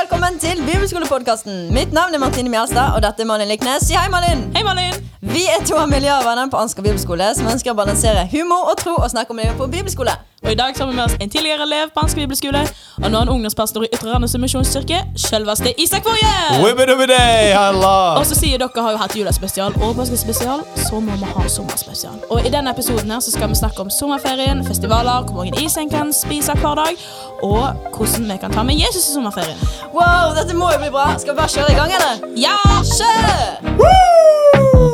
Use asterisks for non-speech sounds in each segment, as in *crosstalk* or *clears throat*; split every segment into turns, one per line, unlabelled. velkommen til Bibelskolepodkasten. Mitt navn er Martine Mjelstad, og dette er Malin Liknes. Si hei, Malin!
Hei, Malin!
Vi er to av miljøvenner på Ansgar bibelskole som ønsker å balansere humor og tro og snakke om livet på bibelskole.
Og I dag så har vi med oss en tidligere elev på Ansgar bibelskole og nå en ungdomspastor i Ytre Randers misjonskirke, selveste Isak Woie!
Wibbidi-wibbidi,
Og
halla!
så sier dere har jo hatt julespesial og påskespesial, så må vi ha sommerspesial. Og I denne episoden her så skal vi snakke om sommerferien, festivaler, hvor mange is en kan spise hver dag, og hvordan vi kan ta med Jesus i sommerferien.
Wow, dette må jo bli bra. Skal vi bare kjøre i gang, eller?
Ja!
Kjør!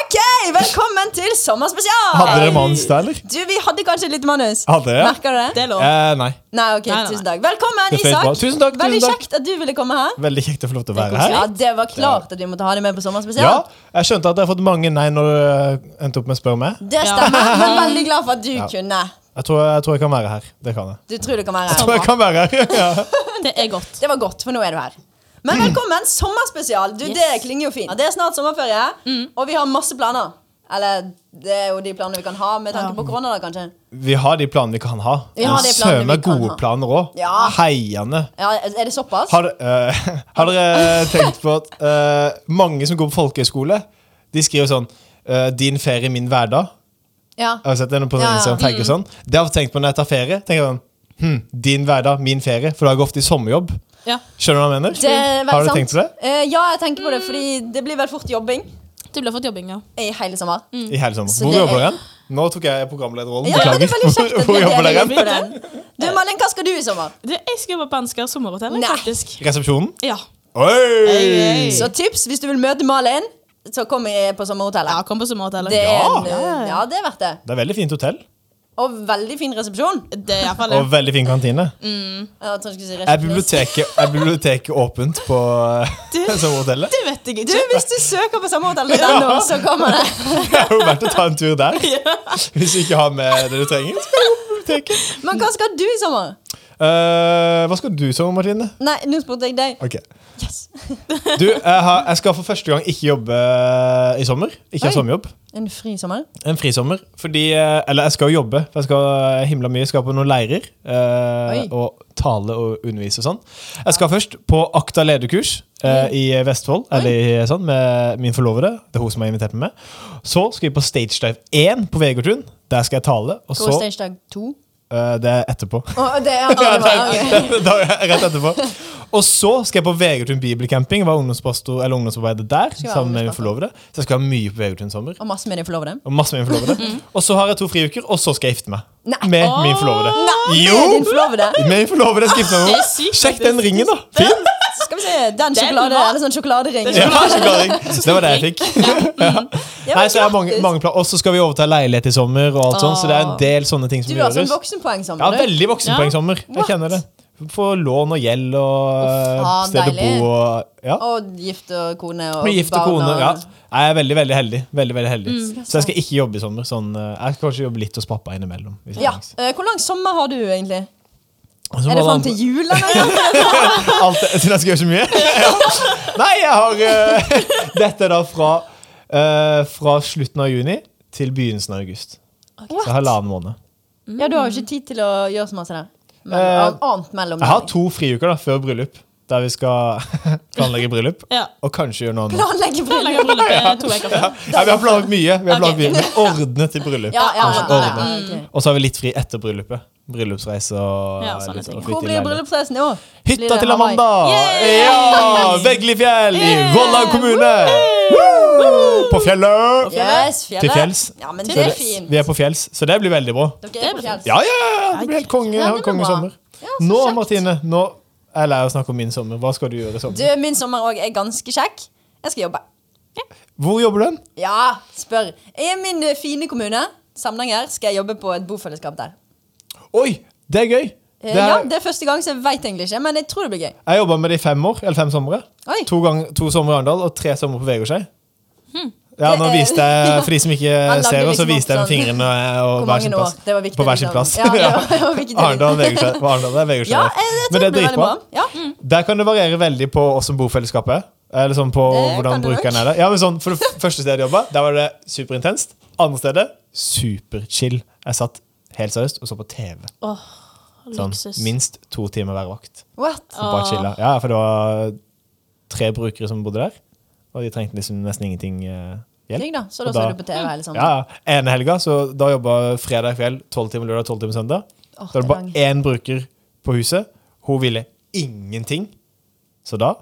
Ok, velkommen til sommerspesial!
Hadde dere manus der, eller?
Du, vi hadde kanskje litt manus.
Hadde dere?
Merker du det?
Det er lov.
Eh, nei.
Nei, ok,
Nei, nei, nei.
tusen takk. Velkommen,
Det er fint
Isak.
bra. Tusen takk,
Veldig
tusen takk.
kjekt at du ville komme her.
Veldig kjekt å få lov til å være
Ja,
her.
det var klart at vi måtte ha deg med på sommerspesial.
Ja, Jeg skjønte at dere har fått mange nei når dere endte opp med å spørre meg.
Det *laughs* stemmer. Men veldig glad for at du kunne.
Jeg tror, jeg tror jeg kan være her. Det kan jeg.
Du tror du kan være
Jeg
her.
tror jeg kan være her. Ja.
Det er godt.
Det var godt, for nå er du her.
Mm.
Men velkommen, sommerspesial. Du, Det
Yes.
klinger jo fint. Ja, Det er snart sommerferie, og vi har masse planer. Eller det er jo de planene vi kan ha med tanke på korona, da, kanskje.
Vi har de planene vi kan ha.
Vi har de planene vi
Søme
kan
gode
ha.
planer òg.
Ja.
Heiende.
Ja, Er det såpass?
Har, eh, har dere tenkt på at eh, mange som går på folkehøyskole, de skriver sånn eh, 'Din ferie, min hverdag'.
Ja.
Jeg har sett det på
Ja, ja.
Instagram tagger og sånn. Det har jeg tenkt på når jeg tar ferie. Tenker jeg sånn, hm, Din hverdag, min ferie. For da går jeg ofte i sommerjobb.
Ja,
Skjønner du hva jeg mener?
Det er veldig
har du
sant.
tenkt på det?
Eh, ja, jeg tenker på det, fordi det blir vel fort jobbing
Du ble fått jobbing, ja.
i hele sommer.
I hele sommer.
Mm. Så
Hvor
det er-
jobber dere hen? Nå tok jeg programlederrollen.
Ja, men det er
*laughs*
veldig kjekt
Mm. Beklager.
at
Hvor
vi
jobber
deler
dere
litt på
hen?
den. Du, Malin, hva skal du i sommer?
Du, Jeg skal jobbe på Ansgar sommerhotell,
Nei.
faktisk.
Resepsjonen?
Ja.
Oi!
Hey.
Så tips, hvis du vil møte Malin, så kom i- på sommerhotellet.
ja, kom på sommerhotellet.
Det er, en,
Ja.
eh, ja, det er verdt det.
Det er veldig fint hotell.
Og veldig fin resepsjon.
Det er i hvert fall det.
Og veldig fin kantine.
Mm. Jeg tror jeg skulle si
Er
resepsjonist.
biblioteket, er biblioteket åpent på
*laughs*
*laughs* som hotellet?
Det vet jeg
Du,
ikke.
hvis du søker på sommerhotellet ditt ennå, så kommer det.
Det er jo verdt å ta en
*laughs*
tur der. Hvis du ikke har med det du trenger. så kan du gå på biblioteket.
Men hva skal du i sommer?
Eh, hva skal du som, Martine?
Nei, nå spurte jeg deg.
Ok.
Yes.
Du, jeg, har, jeg skal for første gang ikke jobbe eh, i sommer. Ikke
Oi.
ha sommerjobb.
En fri sommer?
En frisommer. Fordi eh, Eller jeg skal jo jobbe. For jeg skal himla mye. Jeg skal på noen leirer. eh,
Oi.
og tale og undervise og sånn. Jeg skal først på Akta lederkurs eh, i Vestfold. Eller i sånn, med min forlovede. Det er hun som har invitert meg med. Så skal vi på Stage Dive 1 på Vegårtun. Der skal jeg tale. Og
Hvor
så
er stage dag to?
eh, Det er etterpå.
Å, det er
Ja,
andre
da-
veien, ok.
*laughs* da er jeg rett etterpå. Og så skal jeg på Vegårtun bibelcamping. Være ungdomspastor eller ungdomsarbeider der.
være
sammen med min
ungdomspastor.
forlovede Så jeg skal ha mye på Vegårtun sommer.
Og masse med din forlovede?
Og masse med min forlovede. Og så har jeg to friuker, og så skal jeg gifte meg.
Mm. Nei.
Med min forlovede.
Med
Jo!
din forlovede?
Med min forlovede skal jeg gifte meg
Det
med.
er sykt,
Sjekk den
faktisk.
ringen, da. Fin.
Skal vi se, den sjokolade,
var-
eller sånn sjokoladering.
Ja, sjokoladering. det var det jeg fikk.
Ja, men
Nei, så jeg har mange,
grattis.
mange planer. Og så skal vi overta leilighet i sommer, og alt sånt, så det er en del sånne ting som
Du har sånn
gjøres. Ja,
voksenpoengsommer,
veldig voksenpoengsommer.
What?
Jeg kjenner det. Få lån og gjeld og
faen,
eh, sted å bo
deilig.
og ja.
Og gift og kone og
Bli gift og
barn
kone.
og- Mm.
Ja. Jeg er veldig, veldig heldig. Veldig, veldig heldig. Så jeg skal ikke jobbe i sommer. Sånn, eh, jeg skal kanskje jobbe litt hos pappa innimellom. Hvis det
Ja,
trengs.
eh, Hvor lang sommer har du egentlig?
Og så
Er det
må
fram
han-
til jul? eller?
*laughs* Alt det, siden jeg skal gjøre så mye? Ja. Nei, jeg har eh, *laughs* Dette er da fra, eh, fra slutten av juni til begynnelsen av august. Så jeg har halvannen måned.
*laughs* Ja, Du har jo ikke tid til å gjøre så masse der. Men,
Eh,
av- annet mellom
Jeg har to friuker da, før bryllup, der vi skal *laughs* planlegge bryllup.
Ja.
Og kanskje gjøre noe annet.
Planlegge
Planlegger
bryllup.
bryllupet eh, to uker før.
Ja, vi har planlagt mye. Vi har planlagt
Ok.
mye, men ordne til bryllup.
Ja, ja, ja, Mm.
Kanskje
ja,
ordne.
ja, ok.
Og så har vi litt fri etter bryllupet. Bryllupsreise og,
Ja, sånne ting.
og
Hvor blir
flytte inn i leilighet.
bryllupsreisen i år? Blir
Hytta
det
til
Hawaii?
Amanda! *laughs* Ja! Veglifjell i
Yeah!
Volda kommune! Woo! På fjellet!
Yes, fjellet.
Til fjells.
Ja, men
Så
det er
det-
fint.
Vi er på fjells, så det blir veldig bra.
Dere er på fjells.
Ja, ja, ja! Det blir helt konge,
Ja, det blir
konge
bra.
sommer.
Ja, så
Nå,
kjekt.
Martine, nå er jeg lei av å snakke om min sommer. Hva skal du gjøre i
Du,
sommer?
min sommer òg er ganske kjekk. Jeg skal jobbe.
Hvor jobber du hen?
Ja, spør. I min eh, fine kommune, Samnanger, skal jeg jobbe på et bofellesskap der.
Oi, det er gøy!
Eh,
Det er,
ja, det er første gang, så jeg veit egentlig ikke, men jeg tror det blir gøy.
jeg jobba med det i fem år, eller fem somre.
Oi.
To, gang, to somre i Arendal og tre somre på Vegårshei. Ja, nå
Hmm. Det er-
viste
*laughs*
jeg, For de som ikke
Han lagde
ser oss, så
liksom
viste jeg
opp
med fingrene eh, og- og
Hvor
hver
mange
sin
år?
plass.
Det var viktig,
På hver sin
liksom.
plass.
Ja, det
*laughs*
var- det var viktig,
Arendal,
liksom.
Vegårshei. Arendal er Vegårshei.
Ja, eh, jeg, jeg tror
Men det
det Mm. blir veldig
er dritbra.
bra. Ja.
Der kan det variere veldig på oss som bofellesskap er. Eller sånn på
Det kan
hvordan
det nok.
brukeren er der. Ja, men sånn, for det f- første stedet jeg jobba, der var det superintenst. Andre stedet superchill. Jeg satt helt seriøst og så på TV.
Åh,
Sånn,
Luksus.
minst to timer hver vakt.
What?
Og bare
Åh.
chilla. Ja, for det var tre brukere som bodde der, og de trengte liksom nesten ingenting eh, hjelp.
Digg, da. Så da
Og da-
ser du på TV hele sammen.
Ja, ja. ene helga, så da jobba fredag kveld, tolv timer lørdag, tolv timer søndag.
Åh,
da var det bare
det
én bruker på huset. Hun ville ingenting. Så da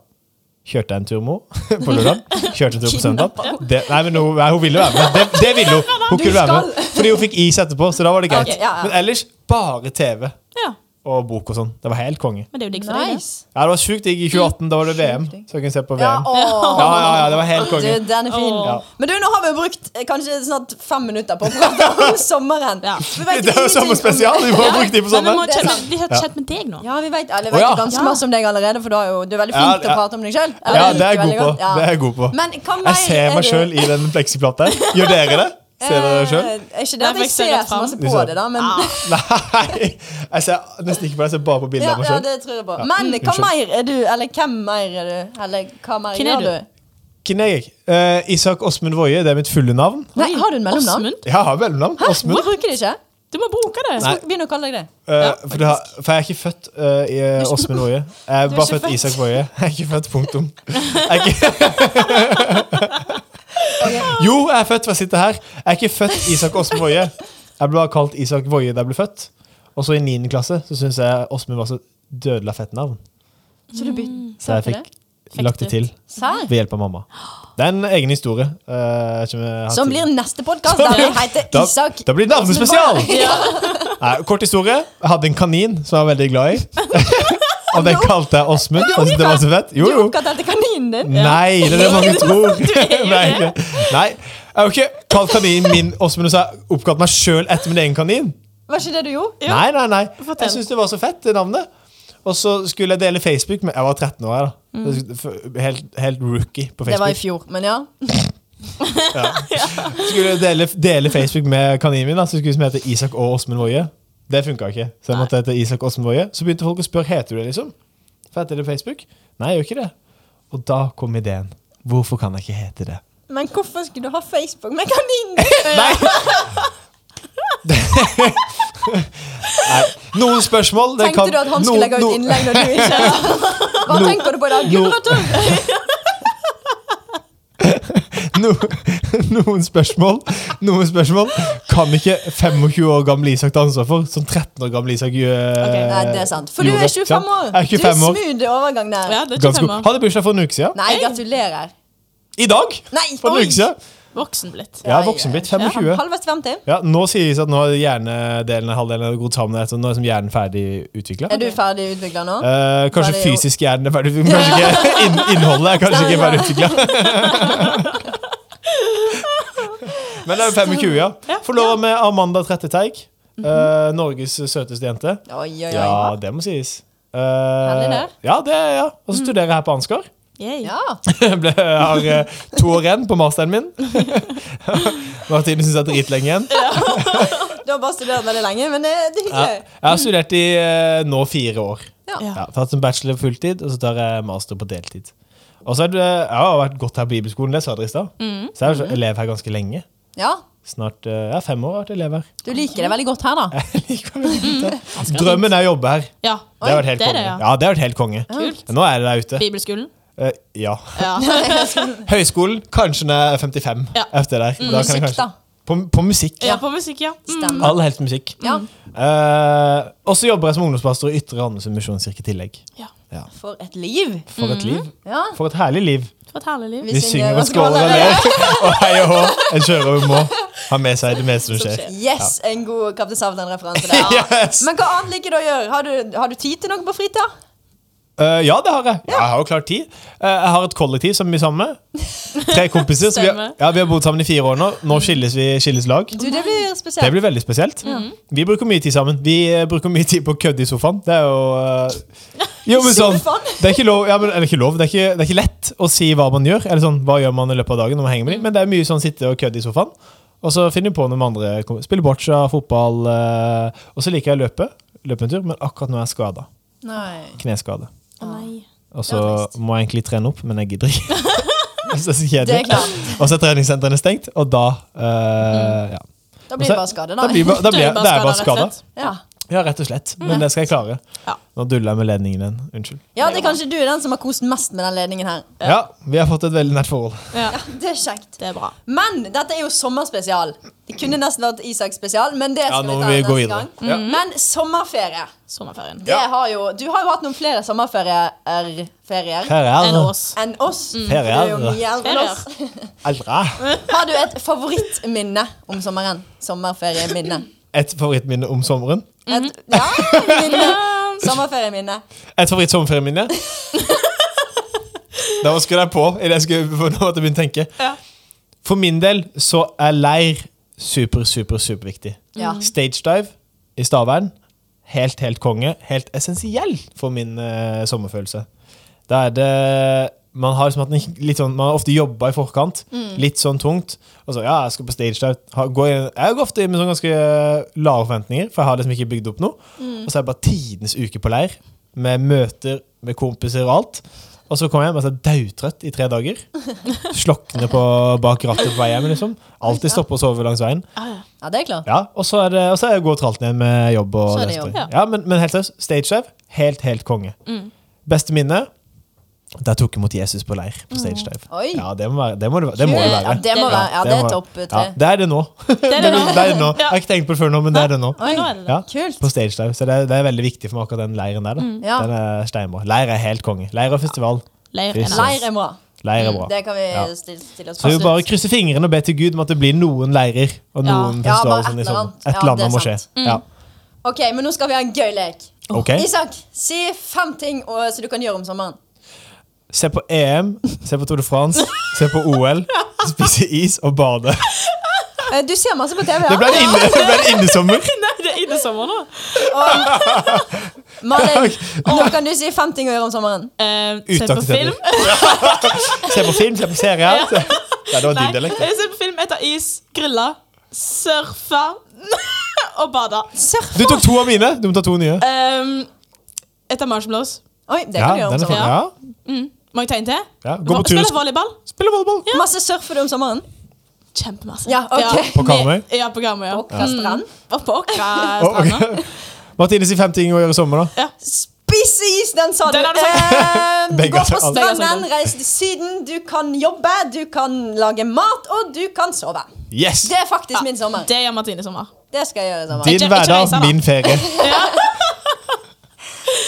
kjørte jeg en tur med henne på
*laughs*
lørdag. Kjørte en tur på søndag. Det, nei, men hun, nei, hun ville være med. Det, det ville hun. Hun
Du
kunne være med.
skal.
Fordi hun fikk is etterpå, så da var det greit.
Ok, ja, ja.
Men ellers bare TV
Ja,
og bok og sånn. Det var helt konge.
men det er jo digg for deg.
Nice.
Ja, det var sjukt digg i 2018. Da var det VM,
Sjukt digg.
så jeg kunne se på
Ja,
VM.
åh.
Ja, ja, ja, det var helt konge.
Du, den er fin.
Åh.
Ja.
Men du, nå har vi jo brukt eh, kanskje snart fem minutter på å prate om sommeren.
Ja.
Vi vet
Det er jo
ingenting om
samme
det.
spesial! Vi må ha brukt de på
Men vi må
sommeren.
Det er
kjenne,
sant.
vi har kjent med deg nå.
Ja, vi vet, eller,
Å,
vet
ja.
jo ganske
Ja.
masse om deg allerede, for du, har jo, du er veldig flink
Ja,
til
ja.
å prate om deg sjøl.
Ja, det er jeg god på. Det er jeg god på.
Men hva mer
Jeg ser meg sjøl i den fleksiplata. Gjør dere det? Ser dere det sjøl?
Er Eh, ikke det
Nei,
at jeg
for jeg ser
ser så
rett frem.
masse
Du
på
ser-
det, da, men
Ah. Nei! Jeg ser nesten ikke på det. Jeg ser bare på bilder
ja,
av meg
*laughs* ja,
sjøl.
det tror jeg på. Men hva
Unnskyld.
mer er du, eller hvem mer er du, eller hva mer
Hvem er
gjør du?
du?
Hvem er jeg? Eh, Isak Åsmund Woie, det er mitt fulle navn.
Nei, har du en mellomnavn?
Åsmund,
Jeg har mellomnavn.
Du
Åsmund.
bruker det ikke?
du må bruke det.
Nei.
Begynn å kalle deg det.
Eh, for, det har, for jeg er ikke født eh, i eh, Åsmund Woie. Jeg er
Du er
bare
ikke
født
født.
Isak Woie. Jeg er ikke født, punktum. Jeg er ikke... Jo, jeg er født for jeg sitter her. Jeg er ikke født Isak Åsmund Woie. Jeg ble bare kalt Isak Woie da jeg ble født. Og så i 9. klasse så syntes jeg Åsmund var så dødelig fett navn.
Så du byt-
Så jeg
til
fikk
Fikk
lagt det
det.
til
Serr?
ved hjelp av mamma. Det er en egen historie. eh, jeg vet ikke om jeg har
Som
tid. *laughs*
blir neste podkast, der vi heter
Da-
Isak.
Da blir det navnespesial!
Ja.
Nei, kort historie. Jeg hadde en kanin som jeg var veldig glad i. Og den kalte jeg Åsmund. Jeg syntes det var så fett. Jo,
Du
jo.
oppkalte etter kaninen din.
Nei, det er det mange tror.
er
*laughs*
jo
Nei, nei. Jeg har jo ikke kalt kaninen min Åsmund, og så har jeg oppkalt meg sjøl etter min egen kanin.
Var ikke det du gjorde?
Nei, nei, nei.
Fortell.
Jeg syns det var så fett, det navnet. Og så skulle jeg dele Facebook med Jeg var 13 år, jeg, da. Helt, helt rookie på
Det var i
Facebook.
fjor, men ja.
Skulle jeg dele, dele Facebook med kaninen min, da, så skulle vi hete Isak og Åsmund Woie. Det funka ikke. Så jeg måtte hete Isak Åsmund Woie. Så begynte folk å spørre heter du det, liksom. For heter det Facebook? Nei, jeg gjør ikke det. Og da kom ideen. Hvorfor kan jeg ikke hete det?
Men hvorfor skulle du ha Facebook med kanin? *laughs*
Nei! Nei. Noen spørsmål *laughs* det
Tenkte
kan-
du at han
noen-
skulle legge ut
noen-
innlegg når du
*laughs*
ikke Hva
No-
tenker du på i dag?
no-
Gulrøtter?
*laughs* No, noen spørsmål Noen spørsmål kan ikke 25 år gamle Isak ta ansvar for, som 13 år gamle Isak gjør. eh,
Ok,
Nei, det er sant. For du er 25 år.
Jeg er 25
du
år.
er smooth i overgang der.
Ja, det er
Ganske
ikke
god.
femmer.
Hadde bursdag for en uke siden.
Nei, gratulerer.
I dag!
Nei,
For en
oi.
uke siden.
Voksen blitt.
Ja, voksen blitt. 25.
Halvveis 50.
Ja, nå sies at nå er hjernedelen halvdelen gått sammen. etter- Nå er liksom hjernen ferdig utvikla.
Er du ferdig utvikla nå?
Eh, kanskje
Ferdig-
fysisk hjernen er ferdig utvikla. Kanskje ikke *laughs* inn, innholdet er kanskje ikke ferdig *laughs* utvikla. Men det er jo 25, ja. Forlova med Amanda Tretteteig. eh, Norges søteste jente.
Oi, oi, oi.
Ja, det må sies. Eh,
det.
ja, det Mm. er ja. Og så studerer jeg her på Ansgar. *laughs*
Yay.
Ja.
Jeg ble- jeg har eh, to år igjen på masteren *laughs* min. Martine syns jeg er dritlenge igjen.
Du har bare studert veldig lenge, men det, det er
Ja,
hyggelig.
jeg har studert i eh, nå fire år.
Ja.
Ja, tatt en bachelor på fulltid, og så tar jeg master på deltid. Og så er det, Jeg har vært godt her på bibelskolen, det sa dere i stad.
Mm.
Så jeg har vært elev her ganske lenge.
Ja.
Snart eh, ja, fem år har jeg vært elev her. *laughs*
Du liker det veldig godt her, da.
Jeg liker meg veldig
*laughs*
godt her. Drømmen er å jobbe her.
Ja.
Det har vært helt
det er
konge.
det, ja.
Ja, det har vært helt konge.
Kult.
Nå er det der ute.
Bibelskolen.
Eh, ja.
*laughs* Ja.
Høyskolen, kanskje når jeg er 55.
Ja. Mm.
Efter der. Da kan jeg
musikk,
kanskje-
da.
På, på musikk.
ja, på musikk, ja. Mm.
Stemmer.
All helst musikk.
Ja.
Eh, og så jobber jeg som ungdomspastor i Ytre Randesund misjonskirke i tillegg.
ja. Mm.
Ja.
For et liv.
For et liv.
Ja.
For et herlig liv.
For et herlig liv.
Vi
Vi
synger og
synger og skåler og ler. *laughs* Og hei og hå. En sjørøver må ha med seg det meste som skjer.
Yes, en god Kaptein
*laughs*
Sabeltann-referanse der.
Yes.
Men hva annet liker du å gjøre? Har du, har du tid til noe på fritida?
Eh, ja, det har jeg. Ja, jeg har jo klart tid. Eh, jeg har et kollektiv som vi er sammen med. Tre kompiser. Så vi, har,
Stemmer.
ja, vi har bodd sammen i fire år nå. Nå skilles vi skilles lag.
Du, det blir
Det
spesielt.
blir veldig spesielt. Vi bruker mye tid sammen. Vi eh, bruker mye tid på å kødde i sofaen. Det er jo eh, Jo, men sånn
Sofaen?
Det er ikke lov, ja, men, eller ikke lov det, er ikke, det er ikke lett å si hva man gjør. Eller sånn, hva gjør man i løpet av dagen når man henger med dem. Men det er mye sånn sitte og kødde i sofaen. Og så finner vi på noe med andre. kom- Spille boccia, fotball. eh, og så liker jeg å løpe. Løpe en tur, men akkurat nå er jeg skada.
Nei.
Kneskade.
Å nei.
Og så
Ja, trist.
må jeg egentlig trene opp, men jeg gidder ikke. Jeg synes det er så
Det er
kjedelig.
klart.
Og så er treningssentrene stengt, og da eh, ja.
Da
Og
blir
så-
det bare skade,
Da
da.
blir, ba- da blir, jeg- da er jeg
rett
bare
og
skada.
slett.
Ja.
Ja, rett og slett. Men det skal jeg klare.
Ja.
Nå duller jeg med ledningen igjen. Unnskyld.
Ja, det er kanskje du er den som har kost mest med den ledningen her.
Ja. vi har fått et veldig nært forhold.
Ja.
Ja, det er kjekt.
Det er bra.
Men dette er jo sommerspesial. Det kunne nesten vært Isak spesial, men det
Ja,
skal
nå må
vi
vi
ta
gå
neste
videre.
gang. Men sommerferie.
Sommerferien.
Det
Ja.
har jo, du har jo hatt noen flere sommerferier ferier,
Her er
Enn
det.
oss.
enn oss.
Mm. Ferier.
Det er jo mye eldre enn
Ferier.
oss.
Aldra.
Har du et favorittminne om sommeren? Sommerferieminne.
Et favorittminne om sommeren.
Et, ja, minne. Sommerferieminne.
Et favorittsommerferieminne. da må jeg skru deg på i det jeg skulle for nå måtte jeg begynne å tenke.
Ja.
For min del så er leir super, super, superviktig.
Ja.
Stage dive i Stavern, helt, helt konge. Helt essensiell for min eh, sommerfølelse. Da er det man har, liksom hatt en litt sånn, man har ofte jobba i forkant, litt sånn tungt. Og så, ja, jeg skal på stage dive. Ha, går inn, jeg går ofte inn med sånn ganske lave forventninger, for jeg har liksom ikke bygd opp noe. Og så er det bare tidenes uke på leir, med møter med kompiser og alt. Og så kommer jeg hjem og så er jeg daudtrøtt i tre dager. Slokne på bak rattet på vei hjem. liksom. Alltid stoppe og sove langs veien.
Ja, det er klart.
Ja, Og så er det, og så er det å gå tralt ned med jobb. og
Så er det
resten.
jobb, Mm.
ja.
ja, Men, men helt seriøst, stagedive, helt, helt konge. Beste minne? Da jeg tok imot Jesus på leir på stagedive.
Mm. Oi.
Ja, det må, være, det må det være. Det må det
Ja,
være.
det må være. Ja, det er
må-
topp tre.
Ja, det er
*laughs*
det nå.
Det er det nå.
Det er det nå. Jeg
Ja.
har ikke tenkt på det før nå, men det er det nå.
Oi.
Nå er det det.
Ja,
Kult.
På stagedive. Så det er, det er veldig viktig for meg akkurat den leiren der. da.
Mm. Ja.
Den er steinbra. Leir er helt konge. Leir og festival.
Leir
Fy
er
søren.
Leir er bra.
Leir er bra.
Mm, Det kan vi
Ja.
stille, stille oss
Så vi
fast.
bare krysser fingrene og ber til Gud om at det blir noen leirer og
Ja.
noen
Ja, bare
festivaler.
et
sånn i
eller
sommer.
annet.
Et
Ja,
eller
det er
annet må skje.
sant. Mm.
Ja.
Ok, men nå skal vi ha en gøy lek.
Ok.
Isak, si fem ting og, som du kan gjøre om sommeren.
Se på EM, se på Tour de France, se på OL, spise is og bade.
Eh, Du ser masse på TV.
Det ble
Ja?
en, inne, det ble en innesommer.
*laughs* Nei, det er innesommer nå.
*laughs*
Malin, nå kan du si fem ting å gjøre om sommeren.
Eh, se på
Utaktiviteter.
film.
Se på film, se på serier. Se. Ja, det var din
Nei,
dialekt.
jeg ser på film, jeg tar is, griller, surfer *laughs* og bader.
Surf.
Du tok to av mine. Du må ta to nye.
Um, jeg tar marshmallows. Mm.
Oi, det
Ja,
kan du gjøre om
den er fin.
sommeren.
ja.
Må jeg ta en til?
Ja, gå på
Vo- Spille
tur.
volleyball.
Spille volleyball.
Masse surfer du om sommeren.
Kjempemasse.
Ja, ok.
På Karmøy.
Med- Ja, på Karmøy. Ja. Mm.
Og strand.
Og på *laughs*
Å, ok.
Åkrastranda.
*laughs* Martine, si fem ting å gjøre i sommer, da.
Ja.
Spise is, den sa du.
Den har du sagt.
Eh,
Begge
Gå
har
på
sagt alt.
Begge har sagt
stranden, reise til Syden. Du kan jobbe, du kan lage mat, og du kan sove.
Yes!
Det er faktisk min sommer.
Ah. Det gjør Martine i sommer.
Det skal jeg gjøre i sommer.
Din
Ikke- ikke reise,
hverdag,
da.
min
*laughs*
ferie.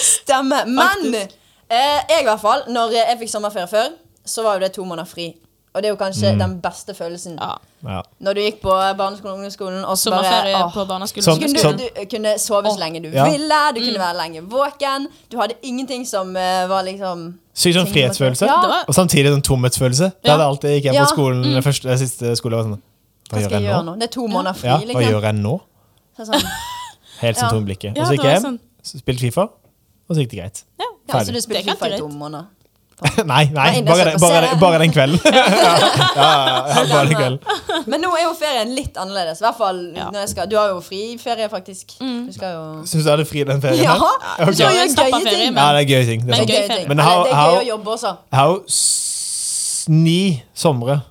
Stemme. Men
Faktisk.
eh, jeg, i hvert fall, når jeg fikk sommerferie før, så var jo det to måneder fri. Og det er jo
Mm.
kanskje den beste følelsen.
Ja.
Ja.
Når du gikk på barneskolen og ungdomsskolen, og så bare
Sommerferie
åh,
på barneskolen.
Sånn-
kunne du,
sånn-
du kunne sove så lenge du
Ja.
ville, du kunne
Mm.
være lenge våken. Du hadde ingenting som eh, var liksom
Sykt sånn frihetsfølelse,
Ja.
Det var-
og samtidig sånn tomhetsfølelse. Da
Ja.
det alltid gikk hjem
Ja. Mm.
på skolen, det første, det siste skole, var sånn Hva,
Hva
gjør
skal
jeg
jeg
nå?
gjøre nå? Det er to måneder fri,
Ja, hva
liksom.
gjør jeg nå?
Så Sånn.
Helt som
Ja. sånn-
tomme blikket.
Ja,
Og så gikk
det
jeg
var
hjem, spilte Fifa, og så gikk det greit. *laughs*
Ja.
Ja, så
Ferdig.
du
Det
spilte
kan
FIFA i
ikke
to
greit.
måneder.
Nei, nei,
Nei, det
bare,
skal
den-
på
bare,
serie.
den- bare den kvelden.
*laughs*
*laughs* ja, ja, ja, *laughs* bare den kvelden.
Men nå er jo ferien litt annerledes. I hvert fall
Ja. Mm.
når jeg skal Du har jo friferie, faktisk. Du skal jo
Syns du jeg hadde fri den ferien?
*laughs* Ja!
her?
Du skal jo
Ja,
gjøre
en stappa
gøye
ferie,
ting.
men-
ja, det er gøy ting. Det
Men
er sant.
Det er
gøy
gøy
ferie.
ting.
Men
Ja,
how-
det er
how-
gøy å jobbe også.
Jeg har jo s- ni somre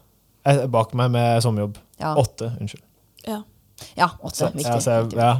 eh, bak meg med sommerjobb.
Ja.
Åtte, unnskyld.
Ja.
Ja, åtte. Viktig.
Ja, så jeg-
viktig.
ja.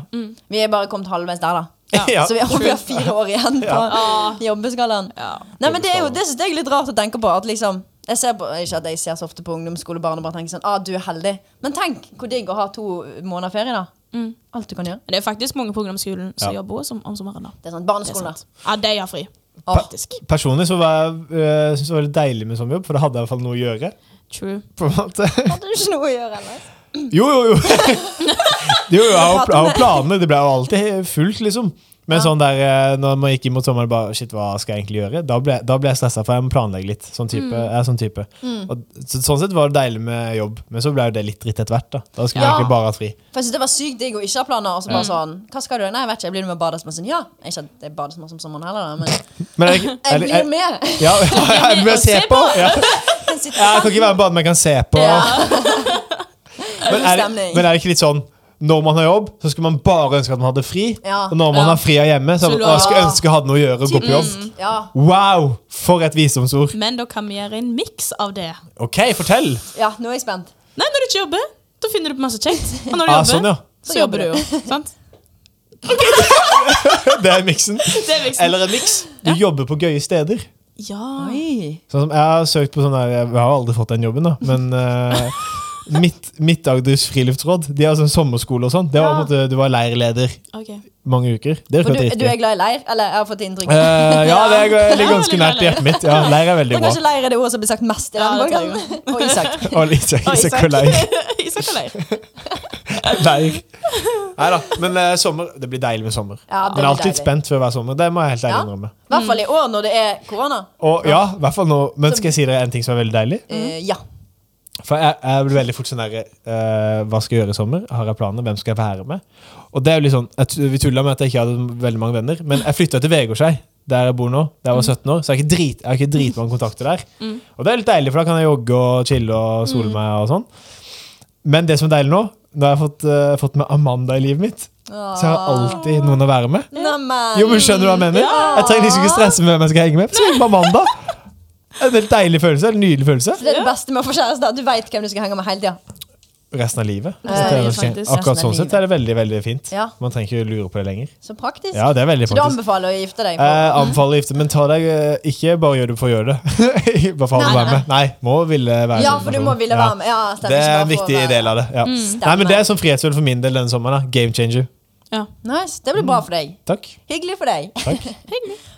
Vi er bare kommet halvveis der, da.
Ja.
*laughs* Ja.
Så vi har, vi har fire år igjen på
Ja.
jobbeskalaen.
Ja.
Nei, men Det er jo det synes jeg er litt rart å tenke på. At liksom jeg ser på, Ikke at jeg ser så ofte på ungdomsskolebarn og bare tenker sånn ah, du er heldig. Men tenk hvor digg å ha to måneder ferie, da.
Mm.
Alt du kan gjøre.
Men det er faktisk mange på ungdomsskolen som
Ja.
jobber også om, om sommeren. da.
Det er sånn
Det er
Barneskolen,
sant.
da.
Ja, de har fri.
Åh.
Faktisk.
Personlig så var jeg, øh, synes jeg det var litt deilig med sommerjobb, for da hadde jeg i hvert fall noe å gjøre.
True.
På en *laughs* måte.
Hadde du ikke noe å gjøre ellers?
Jo, jo, jo. jo, jo jeg har jeg har jo planer. Det ble jo alltid fullt, liksom. Men sånn der, eh, når man gikk inn mot sommeren, bare, shit, hva skal jeg egentlig gjøre? Da ble, da ble jeg stressa, for jeg må planlegge litt. Sånn type, jeg er sånn type. Og, så, sånn sett var det deilig med jobb, men så ble jo det litt dritt etter hvert. Da Da skulle man
Ja.
egentlig bare ha fri.
For jeg synes Det var sykt digg å ikke ha planer. Og så bare sånn, hva skal du? Nei, jeg vet ikke, jeg blir med og bader. Så bare Sånn, ja, ikke at det er badesmål som sommeren heller, da, men
Men jeg,
jeg
jeg,
blir med. *laughs*
ja, *laughs* jeg,
med å
må se
se
på. Ja.
Jeg sitter
Ja, jeg kan ikke være med bare, men jeg kan se på. *laughs* Men, er det,
stemning.
men er det ikke litt sånn når man har jobb, så skulle man bare ønske at man hadde fri.
Ja.
Og når man
Ja.
har fri av hjemme, så
Så du-
og jeg skulle ønske jeg hadde noe å gjøre og gå på jobb.
Typisk. Mm, Ja.
Wow! For et visdomsord.
Men da kan vi gjøre en miks av det.
Ok, fortell!
ja, nå er jeg spent.
Nei, når du ikke jobber, da finner du på masse kjekt. Og når du
Ah,
jobber,
sånn, ja.
så jobber du jo. Sant?
*laughs* Det er miksen.
Det er liksom
Eller en miks. Du jobber på gøye steder.
Ja.
Oi.
Sånn som jeg har søkt på sånn der Jeg har aldri fått den jobben, da, men eh, Midt, Midt-Agders friluftsråd. De har sånn sommerskole og sånn. Det var på en måte, Du var leirleder
Ok.
mange uker. Det
For
hørte
du,
riktig.
du er glad i leir? Eller jeg har fått inntrykk av *laughs*
Eh, ja, det er- ligger
Ja,
ganske
litt
nært i hjertet mitt. Ja, Leir er veldig
Men
bra.
kanskje leir er det ordet som blir sagt mest i
Ja,
denne
det tror jeg
podkasten? Og
*laughs*
Isak.
Og Isak
Og
*laughs*
Isak og leir.
*laughs* Isak og leir.
leir. Nei da, men eh, sommer Det blir deilig med sommer.
Ja, det
men jeg er
blir
alltid
deilig.
spent før hver sommer. Det må jeg helt ærlig
Ja.
innrømme.
I hvert fall i år når det er korona.
Og ja, i hvert fall nå Men skal jeg si dere en ting som er veldig deilig?
Eh, ja.
For jeg, jeg blir veldig fort sånn der eh, Hva skal jeg gjøre i sommer? Har jeg planer? Hvem skal jeg være med? Og det er jo litt sånn jeg, tu- Vi tulla med at jeg ikke hadde veldig mange venner, men jeg flytta til Vegårshei, der jeg bor nå, da jeg var 17 år. Så jeg har ikke, drit, jeg har ikke dritmange kontakter der. Og det er litt deilig, for da kan jeg jogge og chille og sole meg og sånn. Men det som er deilig nå, da har jeg fått, eh, fått med Amanda i livet mitt. Så jeg har alltid noen å være med.
Neimen.
Jo, men skjønner du hva jeg mener? Jeg trenger liksom ikke stresse med hvem jeg skal henge med. Så er det bare mandag. En helt deilig følelse. En nydelig følelse.
Så Det er det beste med å få kjæreste. at Du veit hvem du skal henge med hele tida.
Resten av livet.
Ja, det
er
Resten av
faktisk
livet. Akkurat
resten av
sånn sett er det veldig veldig fint.
Ja.
Man trenger ikke lure på det lenger.
Så praktisk.
Ja, det er veldig
så du
praktisk.
anbefaler å gifte deg?
Jeg anbefaler å gifte, men ta deg eh, ikke bare gjør det for å gjøre det. *laughs* bare for å
Nei,
være med. Nei, må ville være
ja,
med
for du
personen.
må ville
Eh, Ja.
være med. Ja, stemmer.
Det
Ikke
er
bare
en
for å
viktig
være-
del av det. Ja. Nei, men Det er sånn frihetsøl for min del denne sommeren. da. Game changer.
Ja.
Nice. Det blir bra for deg.
Takk. *laughs*
Hyggelig for deg. *laughs*
Mm. Takk.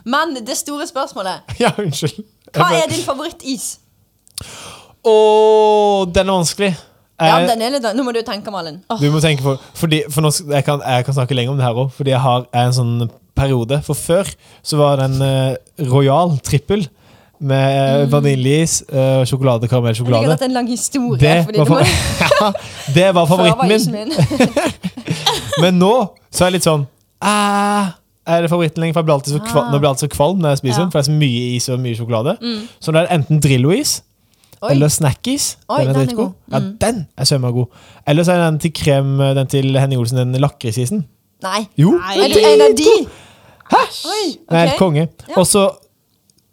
Men det store spørsmålet
Ja, unnskyld.
Hva er din favorittis?
Å, den er vanskelig.
Ja,
Eh,
den er litt, nå må du tenke, Malin.
Du må tenke på fordi, for nå, sk- jeg, kan, jeg kan snakke lenge om det her òg, fordi jeg har en sånn periode. For før så var det en eh, royal trippel med vaniljeis, eh, sjokolade, karamell,
Mm. Jeg liker
sjokolade.
at det er en lang historie.
Det
fordi
var,
du må- *laughs*
fa- *laughs* ja, det var
Før
favoritten
var
*laughs* min. Men nå så er jeg litt sånn «Ah, Er det favoritten lenger? For jeg blir alltid så kvalm,
Ah.
nå blir jeg alltid så kvalm når jeg spiser
Ja.
den, for det er så mye is og mye sjokolade. Så da er det enten Drillo-is
Mm. Oi.
eller Snackis.
Oi,
den er
den er
dritgod.
god. Mm.
Ja, den er sømmagod. Eller så er den til krem, den til Henning Olsen, den lakrisisen.
Nei.
Jo,
Nei.
Er det en av de? Oi,
den er helt
ok.
konge.
Ja.
Og så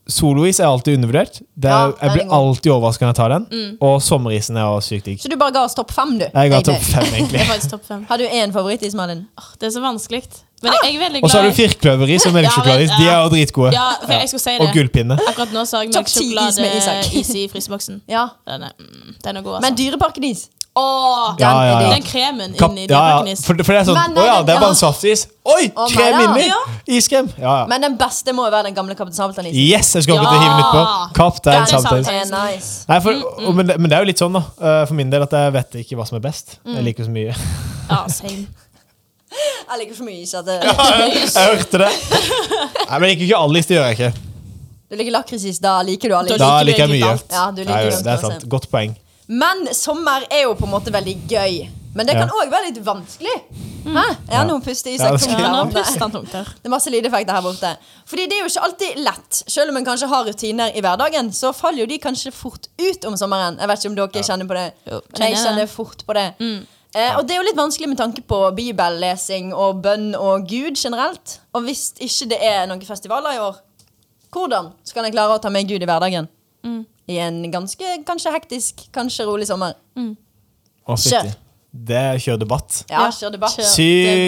Solois er alltid undervurdert. Det
Ja,
er,
den er
jeg blir
god.
alltid overrasket når jeg tar den. Og sommerisen er også sykt digg.
Så du bare ga oss topp fem, du?
Jeg ga
Egentlig.
topp fem,
Det *laughs*
egentlig.
er faktisk topp fem.
Har du én favorittis, Malin?
Åh, Det er så vanskelig. Men jeg er veldig glad
Og så har du firkløveris og melkesjokoladeis. De er jo dritgode.
Ja, for jeg skulle si
Og
det.
gullpinne.
Akkurat nå så har jeg
Topp ti is med Isak.
melkesjokoladeis i fryseboksen.
Ja.
Den er, mm, den er god,
Men
altså.
dyreparkis?
Åh,
Ja, ja, ja.
Den kremen
Kap,
inni
ja, ja.
dyreparken.
For, for det er sånn
Men,
Å
nei,
ja,
den-
det er
ja.
bare en saftis. Oi!
Å,
Krem
nei, ja.
inni!
Ja.
Iskrem. Ja, ja.
Men den beste må jo være den gamle Kaptein Sabeltann-isen.
Yes! Jeg skal
Ja.
akkurat til å hive den utpå.
Den er
Kaptein
sant.
Sabeltann.
er nice.
Nei, for, og- Men, det, men det er jo litt sånn, da. eh, For min del at jeg vet ikke hva som er best. Jeg liker så mye.
Ja, same.
Jeg liker så mye is at det-
Jeg hørte det. Nei, men jeg liker ikke all is, det gjør jeg ikke.
Du liker lakrisis, da liker du alle
Da
Da
is.
liker du
liker jeg
egentlig
mye.
alt.
Ja, du liker
Nei,
alt,
det er
altså.
sant. Godt poeng.
Men sommer er jo på en måte veldig gøy. Men det kan
Ja.
òg være lilitt vanskelig. Hæ? Ja, nå puster
Ja,
Isak
det skal-
tungt
Ja,
der
nå
borte.
puster han tungt her.
Det er masse lydeffekter her borte. Fordi det er jo ikke alltid lett. Selv om en kanskje har rutiner i hverdagen, så faller jo de kanskje fort ut om sommeren. Jeg vet ikke om dere kjenner på det.
Jo,
Men jeg
kjenner
kjenner
det. Mm.
fort på det. Eh, og det er jo litt vanskelig med tanke på bibellesing og bønn og Gud generelt. Og hvis ikke det er noen festivaler i år, hvordan skal en klare å ta med Gud i hverdagen?
Mm.
I en ganske kanskje hektisk, kanskje rolig sommer.
Å,
Kjør.
fytti. Det er kjør debatt.
Ja,
Ja,
kjør debatt.
kjør. Ja,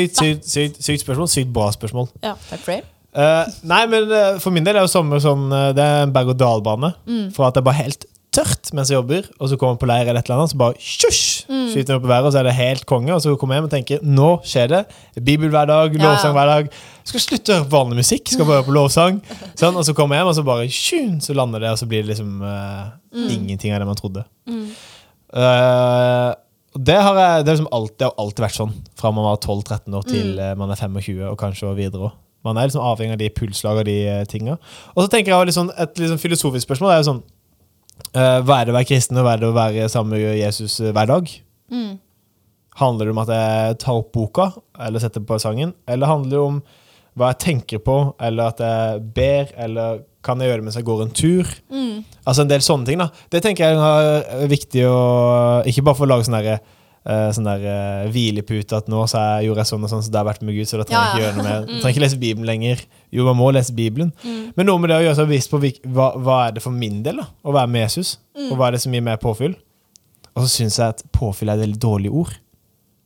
Sykt,
det
sykt, sykt, sykt spørsmål. Sykt bra spørsmål.
Ja.
Takk for det.
Eh, nei, men eh, for min del er jo sommer sånn eh, Det er en berg-og-dal-bane. For at det er bare helt tørt mens jeg jobber, og så kommer jeg på leir eller et eller annet, så bare tjusj! Skyter den opp i været, og så er det helt konge. Og så kommer jeg hjem og tenker nå skjer det. Bibel hver dag,
Ja, ja.
lovsang hver dag. Skal slutte å høre på vanlig musikk, skal bare høre på lovsang. Sånn, og så kommer jeg hjem, og så bare tjun, så lander det, og så blir det liksom eh, ingenting av det man trodde. Eh, og det har jeg, det, er liksom alltid, det har alltid vært sånn fra man var 12-13 år til eh, man er 25 og kanskje og videre òg. Man er liksom avhengig av de pulslagene og de eh, tinga. Og så tenker jeg også litt sånn, et litt sånn filosofisk spørsmål er jo sånn eh, Hva er det å være kristen, og hva er det å være sammen med Jesus eh, hver dag? Handler det om at jeg tar opp boka eller setter på sangen? Eller handler det om hva jeg tenker på, eller at jeg ber, eller kan jeg gjøre det mens jeg går en tur?
Mm.
Altså en del sånne ting. da Det tenker jeg er viktig å Ikke bare for å lage sånn derre eh, sånn der eh, hvilepute at nå så jeg, gjorde jeg sånn og sånn, så det har vært med Gud, så da trenger jeg
Ja,
ikke
Mm.
gjøre noe
*laughs*
mer. Jeg Trenger ikke lese Bibelen lenger. Jo, man må lese Bibelen. Men noe med det å gjøre seg bevisst på hvil- hva, hva er det for min del da å være med
Mm.
Jesus, og hva er det som gir meg påfyll. Og så syns jeg at påfyll er et veldig dårlig ord.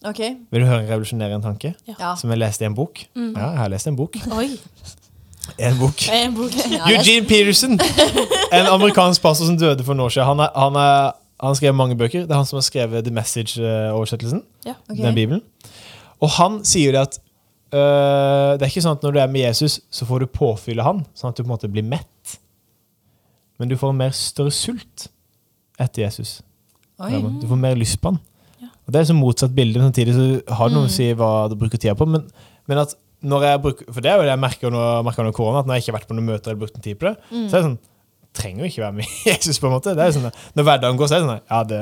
Ok.
Vil du høre en revolusjonerende tanke?
Ja. Mm.
Som jeg leste i en bok. Ja, jeg har lest en bok.
Oi.
*laughs* En bok.
En bok.
Ja, det-
Eugene Peterson! En amerikansk pastor som døde for noen år siden. Han, er, han, er, han skrev mange bøker. Det er han som har skrevet The Message-oversettelsen.
Ja.
Ok.
Den bibelen. Og han sier jo det at øh, det er ikke sånn at når du er med Jesus, så får du påfylle han, sånn at du på en måte blir mett. Men du får en mer større sult etter Jesus.
Oi.
Du får mer lyst på han.
Ja.
Og Det er liksom motsatt bilde, men samtidig så har det noe å si hva du bruker tida på. Men, men at når jeg bruker, For det er jo det jeg merker nå- merker under korona, at når jeg ikke har vært på noen møter eller brukt en tid på det, så er det sånn Trenger jo ikke være med *laughs* Jesus, på en måte. Det er jo sånn, når hverdagen går, så er det sånn Ja, det,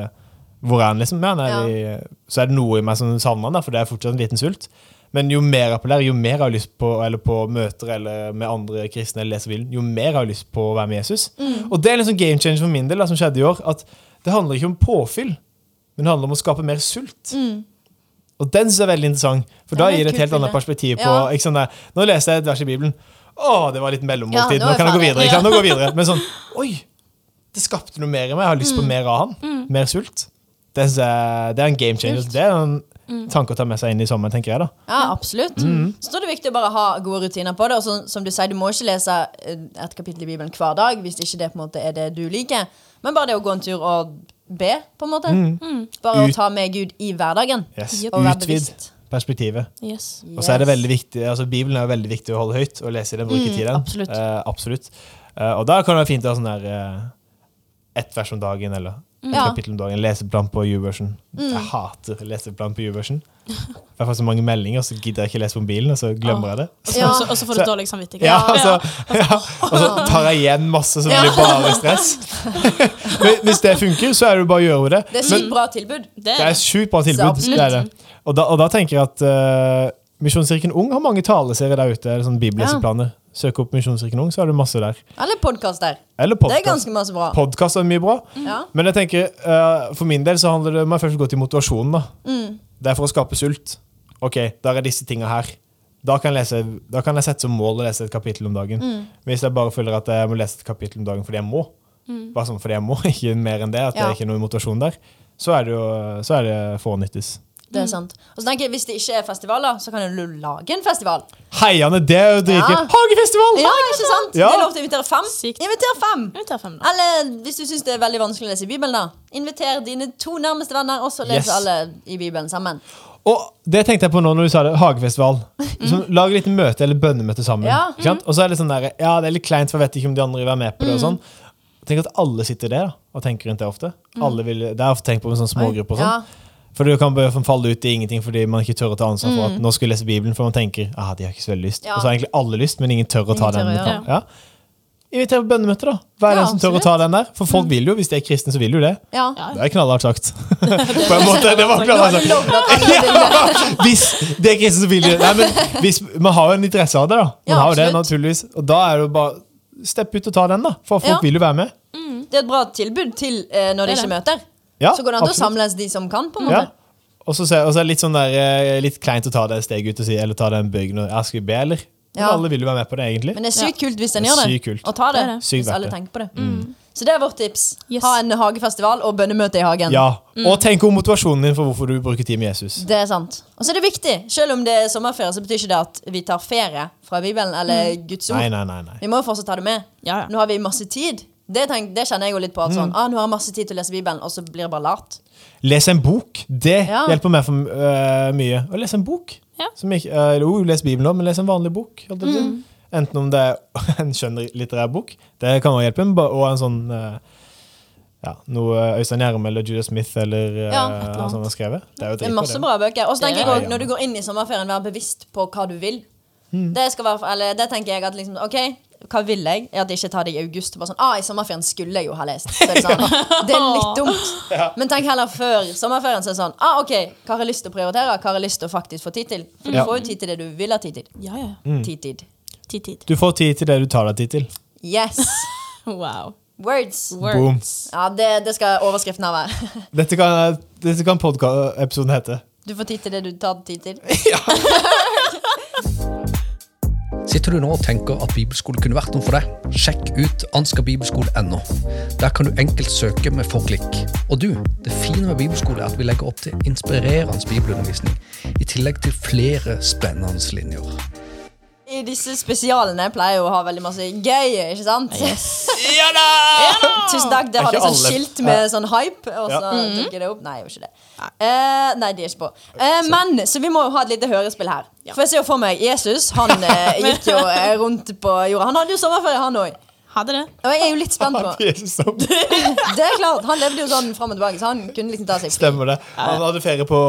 hvor er han, liksom? Ja, nei, vi- Så er det noe i meg som savner han, da, for det er fortsatt en liten sult. Men jo mer jeg appellerer, jo mer jeg har lyst på eller på møter eller med andre kristne, eller det som vil, jo mer jeg har lyst på å være med Jesus. Og det er liksom game changer for min del, da, som skjedde i år. At det handler ikke om påfyll, men det handler om å skape mer sult. Og den synes jeg er veldig interessant, for
Mm. Ja,
da
det er
gir det
kult
et helt annet
bilde.
perspektiv på
Ja.
ikke sånn der, Nå leser jeg et vers i Bibelen. Å, det var litt
Ja,
mellommåltid.
nå er
nå kan
jeg
jeg gå
ferdig.
videre. Ikke sant? Nå går jeg videre.
*laughs*
Men sånn Oi! Det skapte noe mer i meg. Jeg har lyst
Mm.
på mer av han. Mer sult. Det, synes jeg, det er en game changer. Det er en
Mm.
tanke å ta med seg inn i sommeren, tenker jeg. da
Ja, absolutt.
Mhm.
Så da er det viktig å bare ha gode rutiner på det. Og så, som du sier, du må ikke lese eh, et kapittel i Bibelen hver dag hvis ikke det på en måte er det du liker. Men bare det å gå en tur og be, på en måte. Mm. Bare
Mhm.
å
Ut-
ta med Gud i hverdagen.
yes.
Yep.
Og være
Utvid
bevisst.
perspektivet.
Yes.
Og så er det
Yes.
veldig viktig, altså Bibelen er jo veldig viktig å holde høyt og lese i den, bruke
Mm,
tid i den.
absolutt.
Eh, absolutt. Eh, og da kan det være fint å ha sånn der eh, ett vers om dagen eller et
Ja.
kapittel om dagen. Leseplan på YouVersion. Jeg hater leseplan på YouVersion. Jeg får så mange meldinger, så gidder jeg ikke lese på mobilen, og så glemmer jeg det.
Og så-
Ja.
og så- Og så får du
Så-
dårlig samvittighet.
Ja, altså, ja. Og så tar jeg igjen masse, så det blir bare stress. *laughs* Men Hvis det funker, så er det jo bare å gjøre det.
Det er sykt bra tilbud.
Det
Det er et sjukt bra tilbud.
Eh, Så absolutt.
Det er det. Og, da, og da tenker jeg at eh, Misjonskirken Ung har mange taleserier der ute. Eller sånn bibelleseplaner. Søk opp Misjonskirken Ung, så har du masse der.
Eller podkast der.
Eller
Det er
podkast.
ganske masse bra. Mm.
Podkast er mye bra.
Ja.
Men jeg tenker, eh, for min del så handler det om jeg først gå til motivasjonen. da.
Mm.
Det er for å skape sult. Ok, der er disse tinga her. Da kan, jeg lese, da kan jeg sette som mål å lese et kapittel om dagen.
Mm.
Men hvis jeg bare føler at jeg må lese et kapittel om dagen fordi jeg må, bare sånn fordi jeg må, *laughs* ikke mer enn det, at
Mm.
det
Ja.
er ikke noe motivasjon der, så er det jo så er det fånyttes.
Det
Mm.
er sant. Og så tenker jeg, Hvis det ikke er festivaler, så kan du lage en festival.
Heiane, det er jo dritgøy.
Ja.
Hagefestival!
Ja, ikke sant?
Ja.
Det er lov til å invitere fem.
Sykt.
Inviter fem!
Vi tar fem, da.
Eller hvis du syns det er veldig vanskelig å lese i Bibelen, da. Inviter dine to nærmeste venner, og så leser
Yes.
alle i Bibelen sammen.
Og det tenkte jeg på nå når du sa det. Hagefestival. Som Lag et lite møte eller bønnemøte
Mhm.
sammen.
Ja. Mhm.
Ikke sant? Og så er det sånn der, ja, det er litt kleint, for jeg vet ikke om de andre vil være med på det. og sånn. Tenk at alle sitter der da, og tenker rundt det ofte. Alle vil, det har jeg ofte tenkt på med sånne smågrupper. og sånn.
Mhm. Ja.
For du kan bare falle ut i ingenting fordi man ikke tør å ta ansvar for at nå skal jeg lese Bibelen, for man tenker ah, de har ikke så veldig lyst.
Mhm. Ja.
Og så har egentlig alle lyst, men ingen tør å ta
Ingen tør
den.
å
Ja.
gjøre
Ja. Inviter på bønnemøte, da. Hva er
Ja, Mhm.
den som tør å ta den der? For folk vil jo, hvis de er kristne, så vil jo det.
Ja.
Ja.
Det er knallhardt sagt.
*laughs*
På en måte, det var
Nå har
knallhardt
du
sagt.
lovd at alle vil det.
*laughs* Hvis det er kristne som vil det. Nei, men hvis, man har jo en interesse av det, da. Man
Ja,
har jo det,
absolutt.
naturligvis. Og da er det jo bare Stepp ut og ta den, da. For folk
Ja.
vil jo være med.
Det er et bra tilbud til eh, når de
Det er
ikke møter.
Ja,
så går det an til å
absolutt.
samles de som kan, på en
Ja.
måte.
Og så ser- og så er det litt sånn der eh, Litt kleint å ta det steget ut og si Eller ta den bøygen og ja, Skal vi be, eller? Men
Ja.
alle vil jo være med på det, egentlig.
Men det er sykt kult hvis en
Det er
gjør det.
sykt kult.
Og ta det,
Det er det.
Sykt
hvis
verdt
alle
det.
tenker på det. Mm. Så det er vårt tips.
Yes.
Ha en hagefestival og bønnemøte i hagen.
Ja. Og tenk om motivasjonen din for hvorfor du bruker tid med Jesus.
Det er sant. Og så er det viktig. Selv om det er sommerferie, så betyr ikke det at vi tar ferie fra Bibelen eller
Mm.
Guds ord.
Nei, nei, nei. nei.
Vi må jo fortsatt ta det med.
Ja, ja.
Nå har vi masse tid. Det, tenk, det kjenner jeg jo litt på. At sånn, ah, nå har jeg masse tid til å lese Bibelen, og så blir det bare lat.
Les en bok. Det
Ja.
hjelper meg for øh, mye. Å lese en bok.
Ja.
Som ikke, øh, jo, les Bibelen òg, men les en vanlig bok. holdt jeg på å si.
Mm.
Enten om det er *laughs* en skjønnlitterær bok, det kan også hjelpe, men ba- og en sånn øh, ja, noe øh, Øystein Gjerme eller Judah Smith eller øh,
Ja, et
eller
han som har skrevet. Det er jo
Det er
dritbra,
masse bra bøker. Og så tenker
Det
jeg
er
også,
det.
når du går inn i sommerferien, vær bevisst på hva du vil. Det, skal være, eller, det tenker jeg at liksom, ok, hva vil jeg? Er At jeg ikke tar det i august. Bare sånn, ah, I sommerferien skulle jeg jo ha lest. Så er det, sånn, *laughs* det er litt dumt. Men tenk heller før sommerferien. Så er det sånn, ah, ok, Hva har jeg lyst til å prioritere? Hva har jeg lyst til å faktisk få tid til? For du
Ja.
får jo tid til det du vil ha tid til.
Ja, ja.
Tid, tid.
Tid, tid.
Du får tid til det du tar deg tid til.
Yes.
Wow.
Words.
Boom.
Ja, det, det skal overskriften av være.
Dette kan, dette kan podkast-episoden hete.
Du får tid til det du tar tid til.
Sitter du nå og tenker at bibelskole kunne vært noe for deg? Sjekk ut anskabibelskole.no. Der kan du enkelt søke med få klikk. Og du, det fine med bibelskole er at vi legger opp til inspirerende bibelundervisning, i tillegg til flere spennende linjer.
I disse spesialene pleier jeg å ha veldig masse gøy, ikke sant? *laughs*
Ja da!
Tusen takk. Det
Er
hadde
ikke
sånn
alle-
skilt med sånn hype, og så
Ja. Mhm.
tok jeg det opp. Nei, jeg gjorde ikke det. Eh, nei, de er ikke på. Eh, men så vi må jo ha et lite hørespill her. For jeg ser jo for meg Jesus. Han
*laughs*
eh, gikk jo eh, rundt på jorda. Han hadde jo sommerferie, han òg.
Hadde det.
Og jeg er jo litt
*laughs*
spent på
Jesus, så
*laughs* Det er klart, Han levde jo sånn fram og tilbake, så han kunne liksom ta seg fri. *laughs*
Stemmer det. Han hadde ferie på,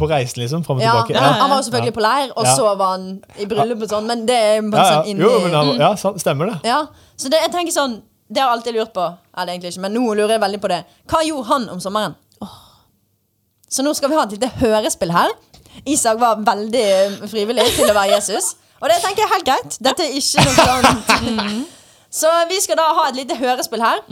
på reisen, liksom. Fram og
Ja,
tilbake.
Han var jo selvfølgelig på leir, og
Ja.
så var han i bryllup og sånn, men det er jo
Ja,
bare
ja.
sånn inni
Jo, men han, ja, sant, stemmer det.
Ja, så det, jeg tenker sånn Det har jeg alltid lurt på Eller egentlig ikke, men nå lurer jeg veldig på det Hva gjorde han om sommeren? Så nå skal vi ha et lite hørespill her Isak var veldig eh, frivillig til å være Jesus Og det tenker jeg er helt greit Dette er ikke noe sånn Så vi skal da ha et lite hørespill her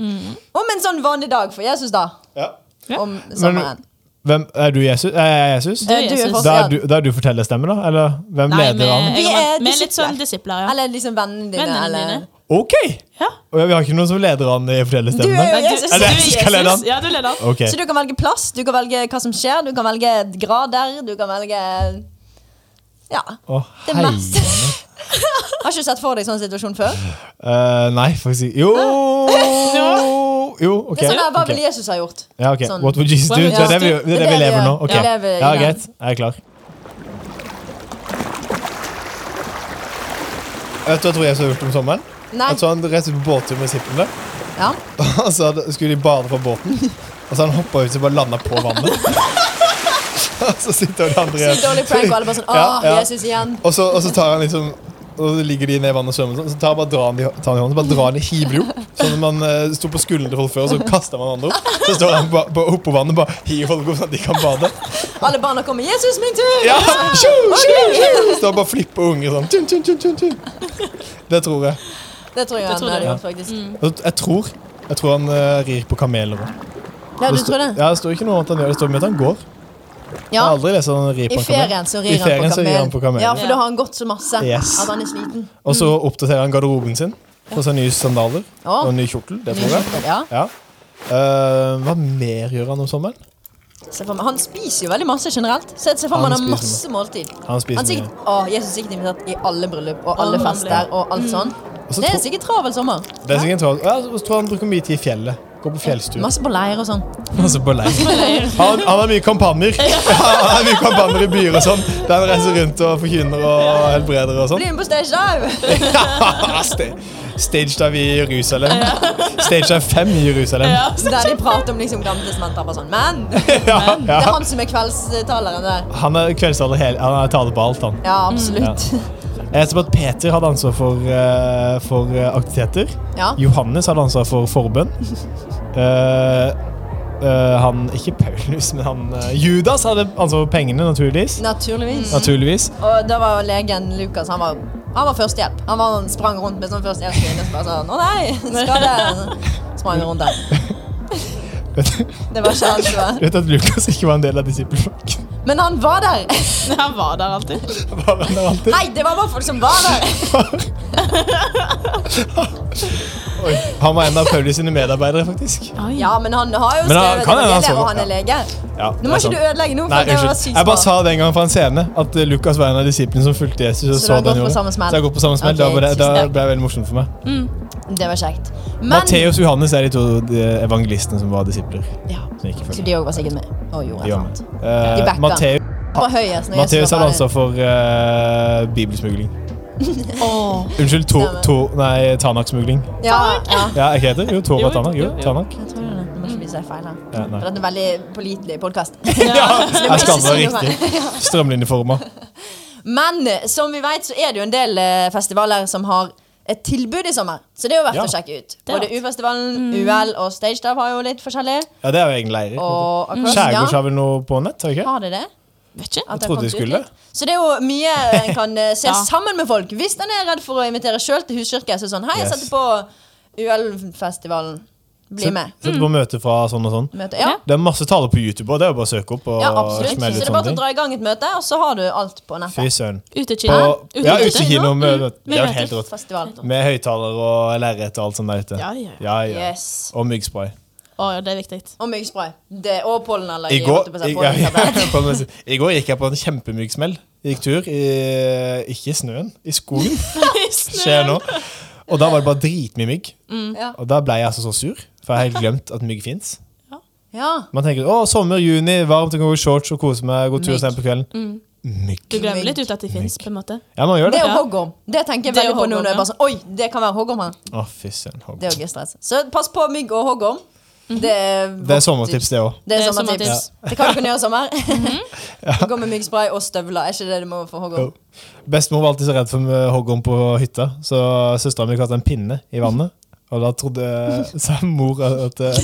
Om en sånn vanlig dag for Jesus da
Ja.
Om sommeren
Hvem, er du Jesus? Er jeg Jesus?
Eh,
Jesus.
fortsatt-
Da er du, da er du fortellerstemmen, da? Eller hvem
Nei, vi
leder an?
Vi er
er, vi er litt
disipler.
sånn disipler, ja.
Eller liksom vennene dine,
Vennene
eller...
dine.
OK!
ja.
Og vi har ikke noen som leder an i
Du er
fortellerstemmen? da?
jo
Nei, du,
Jesus.
du
Er det
jeg som skal lede han?
Ja, du leder han.
Ok.
Så du kan velge plass, du kan velge hva som skjer, du kan velge grader, du kan velge Ja.
Å,
Det
hei.
meste. Har ikke du sett for deg sånn situasjon før?
Eh, nei, faktisk ikke. Jo! Jo, OK.
Det er sånn der, Hva
ok.
ville Jesus ha gjort?
Ja, ok.
Sånn.
What would Jesus do?
What would
Det er det vi,
Jesus
do?
det er det vi lever nå. Ok.
Ja. Lever i
Ja,
den.
greit. Jeg er klar. Vet du hva jeg tror jeg har gjort om sommeren?
Nei.
Jeg tror han reiste på båttur med sippene.
Ja.
*laughs* Og så hadde- skulle de bade fra båten. Og så han hoppa ut og bare landa på vannet. *laughs* Og så sitter de andre
Sykt dårlig prank, og alle bare sånn Å,
Ja, ja.
Jesus igjen.
og så, og så tar han liksom og så ligger de ned i vannet og svømmer, og sånn, så tar han bare drar han de, tar han i hånden, så bare drar han de hiver de opp. Sånn at man eh, sto på skuldre til folk før, og så kaster man andre opp. Så står han ba, ba, oppå vannet og bare hiver folk opp sånn at de kan bade.
Alle barna kommer. 'Jesus, min tur!'
Ja! Sju, sju, sju! Så han bare flipper unger sånn. Tun, tun, tun, tun, tun. Det tror jeg.
Det tror jeg han
tror
hadde
jeg.
gjort, faktisk.
Og Jeg tror, jeg tror han eh, rir på kameler òg.
Ja, du tror det?
Ja, det står ikke noe om at han gjør det. Det står mye at han går. Jeg
Ja.
har aldri lest at han rir
I
på en kamel.
ferien så rir
I ferien
han
så
på
rir han på
kamel.
kamel.
Ja, for da har han gått så masse
Yes.
at han er sliten.
Og så
Mm.
oppdaterer han garderoben sin. Får seg nye sandaler
Ja.
og ny kjortel. Det tror jeg.
Ja,
Ja. Eh, hva mer gjør han om sommeren?
se for meg. Han spiser jo veldig masse generelt. Så jeg ser for meg
Han
han har masse
spiser
måltid.
Han spiser
Han er sikkert, å, Jesus er sikkert invitert i alle bryllup og alle
Alle
fester og alt sånn.
så
Det er
tro-
sikkert travel sommer.
mye. Det er sikkert travelt. Ja, og så tror jeg han bruker mye tid i fjellet. Går på fjellstue.
Masse på leir og sånn.
Masse på
*laughs*
leir. Han, han har mye kampanjer. *laughs* Han har mye kampanjer i byer og sånn. Der han reiser rundt og forkynner og helbreder og sånn.
Bli med på stage *laughs* dive!
*laughs* Sta- Stage dive i Jerusalem. Stage dive 5 i Jerusalem.
Ja.
Der de prater om liksom gamle testamenter. Bare sånn. Men *laughs* det
*laughs* Ja,
er
ja.
han som er kveldstaleren der.
Han er kveldstaler hele Han er taler på alt, han.
Ja, absolutt.
Jeg vet at Peter hadde ansvar for, eh, for eh, aktiviteter.
Ja.
Johannes hadde ansvar for
*laughs*
forbønn. Eh, eh, han Ikke Paulus, men han eh, Judas hadde ansvar for pengene, naturligvis.
*laughs* Naturligvis.
Naturligvis.
Og da var jo legen Lukas Han var, han var førstehjelp. Han, var, han sprang rundt med sånn førstehjelpsgreie. Så bare sånn Å nei! Skade! Sprang rundt der.
Vet du-
Det var ikke han som var
du vet at Lukas ikke var en del av disippelflokken?
Men han var der!
Han var der alltid.
Var han der alltid?
Nei, det var bare folk som var der!
*laughs* Oi, han var en av Paulus sine medarbeidere, faktisk.
Ja, men han har jo
Men han
skrevet
kan hende han
evangeliet,
så-
og han er lege.
Ja,
Nå må ikke du ødelegge noe,
Nei,
for det var
unnskyld.
sykt
Jeg bare
bra.
sa det en gang fra en scene at eh, Lukas var en av disiplene som fulgte Jesus. Og
Så du
så
har
det han
gått på
gjorde.
samme smell?
Så jeg har gått på samme smell.
Ok,
Da, var det, da
tusen takk.
ble det veldig morsomt for meg.
Det var kjekt.
Matteus og Johannes er de to eh, evangelistene som var disipler.
Ja.
Som gikk i
Så
følge.
de òg var sikkert med og gjorde et
De
eller
var
annet.
med. Eh,
De backa.
Matteu-
På høyest når
Matteus
Jesus var
hadde
bare-
ansvar for eh,
*laughs*
bibelsmugling.
Åh.
Unnskyld, to,
Stemmer.
to, nei, Tanak-smugling.
Ja, ja.
Ja, er ikke det? det? Jo, Tora
Jo,
Tanak. Jo,
jo, jo.
Tanak.
Jeg tror det. er det. Nå må ikke vi si feil her.
Ja, nei.
For dette er en veldig pålitelig podkast.
Ja, jeg skal
si
være
noe
riktig. Strømlinjeforma.
Men eh, som vi vet, så er det jo en del eh, festivaler som har et tilbud i sommer. Så det er jo verdt
Ja.
å sjekke ut.
er
Både
verdt. Mm.
UFestivalen, UL og StageDive har jo litt forskjellig.
Ja, det er jo egen leire.
Og
Skjærgårds
Acrosia.
har vel noe på nett? har vi ikke?
Har de det?
Vet ikke.
At det
trodde
har kommet
de
ut
skulle.
litt? Så det er jo mye en kan eh, se
*laughs* Ja.
sammen med folk. Hvis en er redd for å invitere sjøl til huskirke, så er det sånn Hei, jeg
Yes.
setter på UL-festivalen. Bli med.
Sett
Mm.
på møte fra sånn og sånn.
Møte. Ja.
Ja.
Det er masse taler på YouTube, og det er jo bare å søke opp. og
ja, absolutt. Så
smelle
det
ut
er bare å
sånne ting.
dra i gang et møte, og så har du alt på
Fy
nettet.
søren.
Utekino.
På- Ja, utekino
Mm,
med Det er jo
møter.
helt rått.
Festival.
Med høyttaler og lerret og alt sånt der ute.
Ja, ja, ja.
Yes.
Og myggspray.
Å, ja, det er viktig.
Og myggspray. Det- Og pollenallergi.
I går,
holdt jeg på å si,
i, ja,
pollentabletter.
*laughs*
på en måte. I går gikk jeg på en kjempemyk smell. Gikk tur i Ikke i snøen,
*laughs*
i skogen. Skjer nå. Og da var det bare dritmye mygg.
Ja.
Og da ble jeg altså så sur, for jeg har helt glemt at mygg fins.
ja.
Man tenker å, sommer, juni, varmt, jeg kan gå i shorts og kose meg, gå tur sent på kvelden. Mygg.
Du glemmer litt ut at de fins, på en måte.
Ja, man gjør
Mm. Det
det.
er jo
Ja.
hoggorm. Det tenker jeg
Det er
veldig på nå
hoggorm,
når jeg
ja.
bare sånn Oi, det kan være hoggorm her.
Å, fy søren. hoggorm.
Det er jo gøy stress. Så pass på mygg og hoggorm.
Mhm.
Det er,
Det er sommertips, det òg.
Det er sommertips. Mhm. Det kan du kunne gjøre i *laughs* sommer. Gå med myggspray og støvler. Er ikke det du må for hoggorm?
Bestemor var alltid så redd for med hoggorm på hytta, så søstera mi kalte en pinne i vannet. Og da trodde *laughs* sa mor at eh,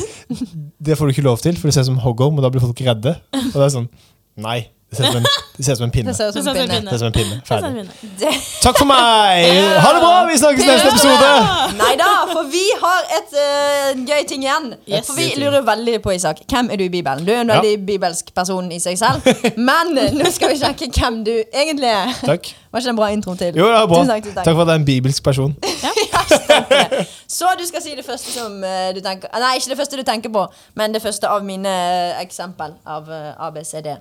det får du ikke lov til, for det ser ut som hoggorm, og da blir folk redde. Og det er sånn Nei, det ser ut som en, det ser ut som en pinne.
Det ser ut
Så
som
ses
en
vi
pinne.
pinne.
Det ser ut som en pinne.
Så ses vi
Ferdig.
pinne.
Takk for meg! Ha det bra! Vi snakkes neste episode!
Nei da, for vi har et eh, gøy ting igjen.
Yes.
For vi lurer veldig på, Isak, hvem er du i Bibelen? Du er en veldig bibelsk person i seg
*laughs*
selv, men eh, nå skal vi sjekke hvem du egentlig er.
Takk.
Var ikke det en bra intro til?
Jo, det er bra.
Tusen takk, tusen
Takk for at jeg er en bibelsk person.
Så du skal si det første som eh, du tenker Nei, ikke det første du tenker på, men det første av mine eh, eksempel av eh, ABCD.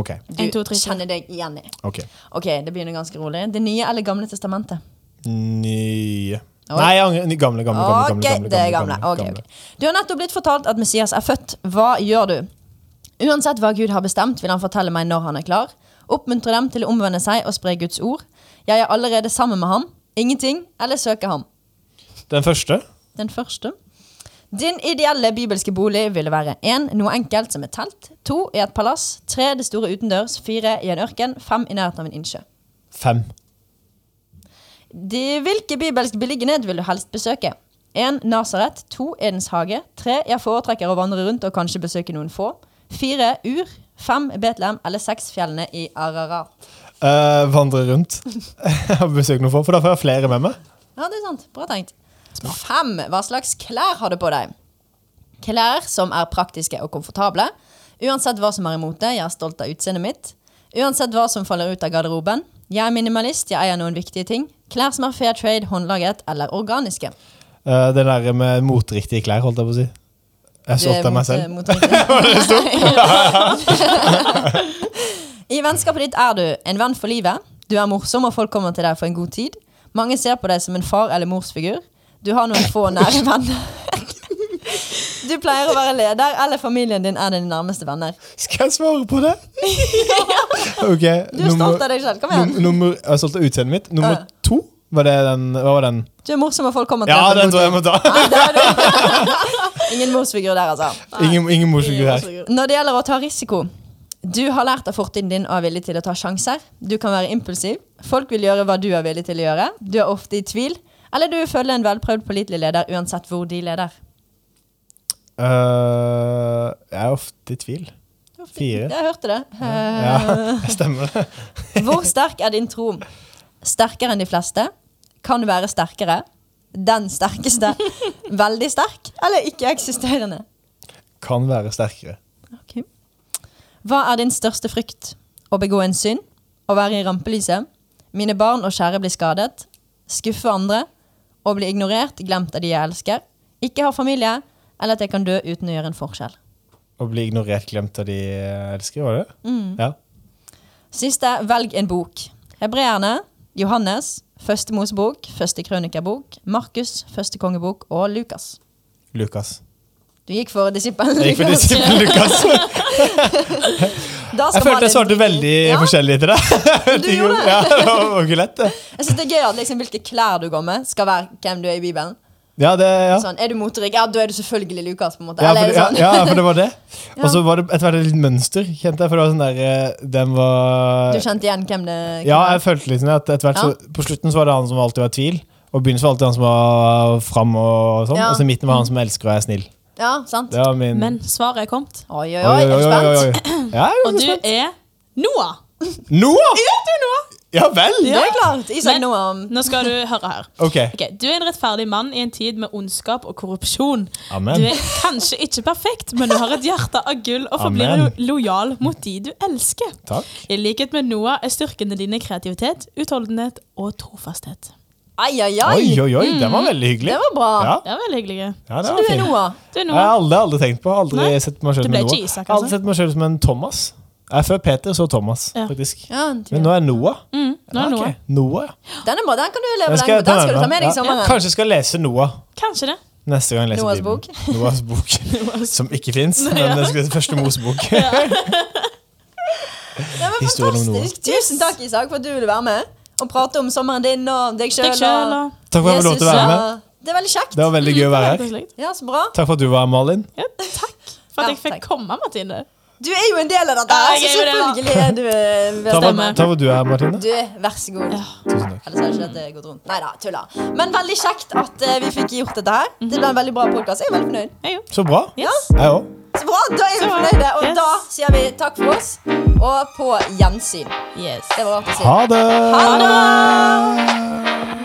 Ok.
Du
En, to, tre, fire.
kjenner deg igjen i.
ok.
Ok, det begynner ganske rolig. Det nye eller gamle testamentet?
Nye
Oi.
Nei, jeg angrer. Ny- Gamle, gamle, gamle. gamle,
Ok,
gamle,
det er gamle. Ok, ok. Du har nettopp blitt fortalt at Messias er født. Hva gjør du? Uansett hva Gud har bestemt, vil han fortelle meg når han er klar. Oppmuntre dem til å omvende seg og spre Guds ord. Jeg er allerede sammen med ham. Ingenting, eller søker ham.
Den første.
Den første. Din ideelle bibelske bolig ville være 1. Noe enkelt som et telt. 2. I et palass. 3. Det store utendørs. 4. I en ørken. 5. I nærheten av en innsjø.
Fem.
De, hvilke bibelsk beliggenhet vil du helst besøke? 1. Nasaret. 2. Edens hage. 3. Jeg foretrekker å vandre rundt og kanskje besøke noen få. 4. Ur. 5. Betlehem. Eller 6. Fjellene i Ararar.
Eh, vandre rundt *laughs* og besøke noen få, for da får jeg flere med meg.
Ja, det er sant. Bra tenkt. 5. Hva slags klær har du på deg? Klær som er praktiske og komfortable. Uansett hva som er i mote, jeg er stolt av utseendet mitt. Uansett hva som faller ut av garderoben. Jeg er minimalist, jeg eier noen viktige ting. Klær som er fair trade, håndlaget eller organiske.
Eh, det der med moteriktige klær, holdt jeg på å si. Jeg
Du er
er stolt av meg
mot-
selv.
mot
*laughs*
*laughs* riktig. *laughs* I vennskapet ditt er du en venn for livet. Du er morsom, og folk kommer til deg for en god tid. Mange ser på deg som en far- eller morsfigur. Du har noen få nære venner. *laughs* Du pleier å være leder, eller familien din er dine nærmeste venner.
Skal jeg svare på
*laughs*
det? Ok,
Du er stolt av deg selv. Kom igjen.
Num nummer, jeg er stolt av utseendet mitt. Nummer
Ja.
to, var det den? Hva var den?
Du er morsom, og folk kommer til
Ja,
deg for
den
en
tror
god
jeg må ta.
*laughs* tid. Ingen morsfigur der, altså.
Ingen, ingen morsfigur her.
Når det gjelder å ta risiko Du har lært av fortiden din og er villig til å ta sjanser. Du kan være impulsiv. Folk vil gjøre hva du er villig til å gjøre. Du er ofte i tvil. Eller du følger en velprøvd pålitelig leder uansett hvor de leder.
Eh, jeg er ofte i tvil. Fire.
Jeg hørte det. Eh,
Ja, stemmer *laughs* det.
*laughs* Hvor sterk er din tro? Sterkere enn de fleste? Kan være sterkere? Den
*laughs*
sterkeste? Veldig sterk? Eller ikke-eksisterende?
Kan være sterkere.
Ok. Hva er din største frykt? Å begå en synd? Å være i rampelyset? Mine barn og kjære blir skadet? Skuffe andre? Å bli ignorert, glemt av de jeg elsker? Ikke ha familie? Eller at jeg kan dø uten å gjøre en forskjell?
Å bli ignorert, glemt av de jeg elsker, var det? Ja.
Siste, velg en bok. Hebreerne, Johannes, Første Mosebok, Første Krønikerbok, Markus, Første Kongebok og Lukas.
Lukas.
*laughs* Du gikk for disippelen *laughs*
Jeg gikk for disippel Lukas.
Da skal man ha
Jeg følte jeg
litt
svarte
driting.
veldig
Ja.
forskjellig til *laughs* deg.
Du gjorde det.
Ja, det var ikke lett, det.
Jeg synes det er gøy at liksom, hvilke klær du går med, skal være hvem du er i Bibelen.
Ja, det, ja.
Sånn, er du moterik? Ja, da er du selvfølgelig Lukas. på en måte
Ja,
Eller
for,
er det
ja,
sånn?
ja,
*laughs*
for det var det. Og så var det etter hvert et litt mønster, kjente jeg. For det var sånn der eh, Den var
Du kjente igjen hvem det hvem
Ja,
det
jeg følte liksom at etter hvert
Ja.
så, På slutten så var det han som alltid var i tvil. Og i begynnelsen var det alltid han som var fram og sånn.
Ja. Mm.
Og så i midten var han som elsker og er snill.
var. ja sant?
Det var min
Men svaret er kommet,
Oi, oi, oi, er du spent? *clears throat* *laughs*
oi. Ja, jeg er
og
veldig
du
spent.
er Noah.
Noah!
Du, Noah.
Ja vel?
Det er klart. Isak
Men-
Noam.
Nå skal du høre her.
Ok.
Ok, Du er en rettferdig mann i en tid med ondskap og korrupsjon.
Amen.
Du er kanskje ikke perfekt, men du har et hjerte av gull og forblir
Amen.
lo lojal mot de du elsker.
Takk.
I likhet med Noah er styrkene dine kreativitet, utholdenhet og trofasthet.
Ai, ai, ai.
Oi, oi, oi. Den var veldig hyggelig.
Mm. Det var bra.
Ja,
Det var veldig hyggelig.
ja det
Så
var
du er
fint.
Noah.
Du er
Jeg har
Noah.
aldri, aldri tenkt på Aldri
Nei.
sett meg
Det
selv som
ble
Noah.
ikke Isak,
Jeg har
altså.
Aldri sett meg selv som en Thomas. Jeg er før Peter, så Thomas,
Ja.
faktisk.
Ja, den tror
Men
jeg.
nå er Noah.
Mm, nå er det
Ja,
Noah.
ok. Noah, ja.
Den er bra. Den kan du leve
Den
lenge med. Den skal du ta med deg i
Ja.
sommeren.
Kanskje jeg skal lese Noah
Kanskje det.
neste gang jeg leser
Noahs *laughs*
Bibelen. Noahs bok. Som ikke fins, men det skal
*laughs*
første Mos-bok.
Ja, men
Historien om
fantastisk. Tusen takk, Isak, for at du ville være med og prate om sommeren din og deg sjøl.
Deg selv og
Takk for at jeg fikk lov til å være med.
Det er veldig kjekt.
Det var veldig gøy å være her.
Koselig.
Ja, så bra.
Takk for at du var her, Malin.
Ja, takk for
Ja,
at jeg fikk
takk.
komme, Martine.
Du er jo en del av dette,
Ja,
her,
jeg
så
er jo det, da.
selvfølgelig er du eh, ved
Takk for
Stemmer.
takk for at du er her, Martine.
*laughs* Du, vær så god.
Tusen takk.
Ellers hadde ikke dette gått rundt. Nei da, tulla. Men veldig kjekt at eh, vi fikk gjort dette her. Det ble en veldig bra podkast. Jeg er veldig fornøyd.
Jeg òg.
Så bra.
Ja,
Yes.
Jeg òg.
så bra. Da er vi
Så bra.
fornøyde. Og
Yes.
da sier vi takk for oss, og på gjensyn.
yes.
Det var rart å si.
Ha det!
Ha det!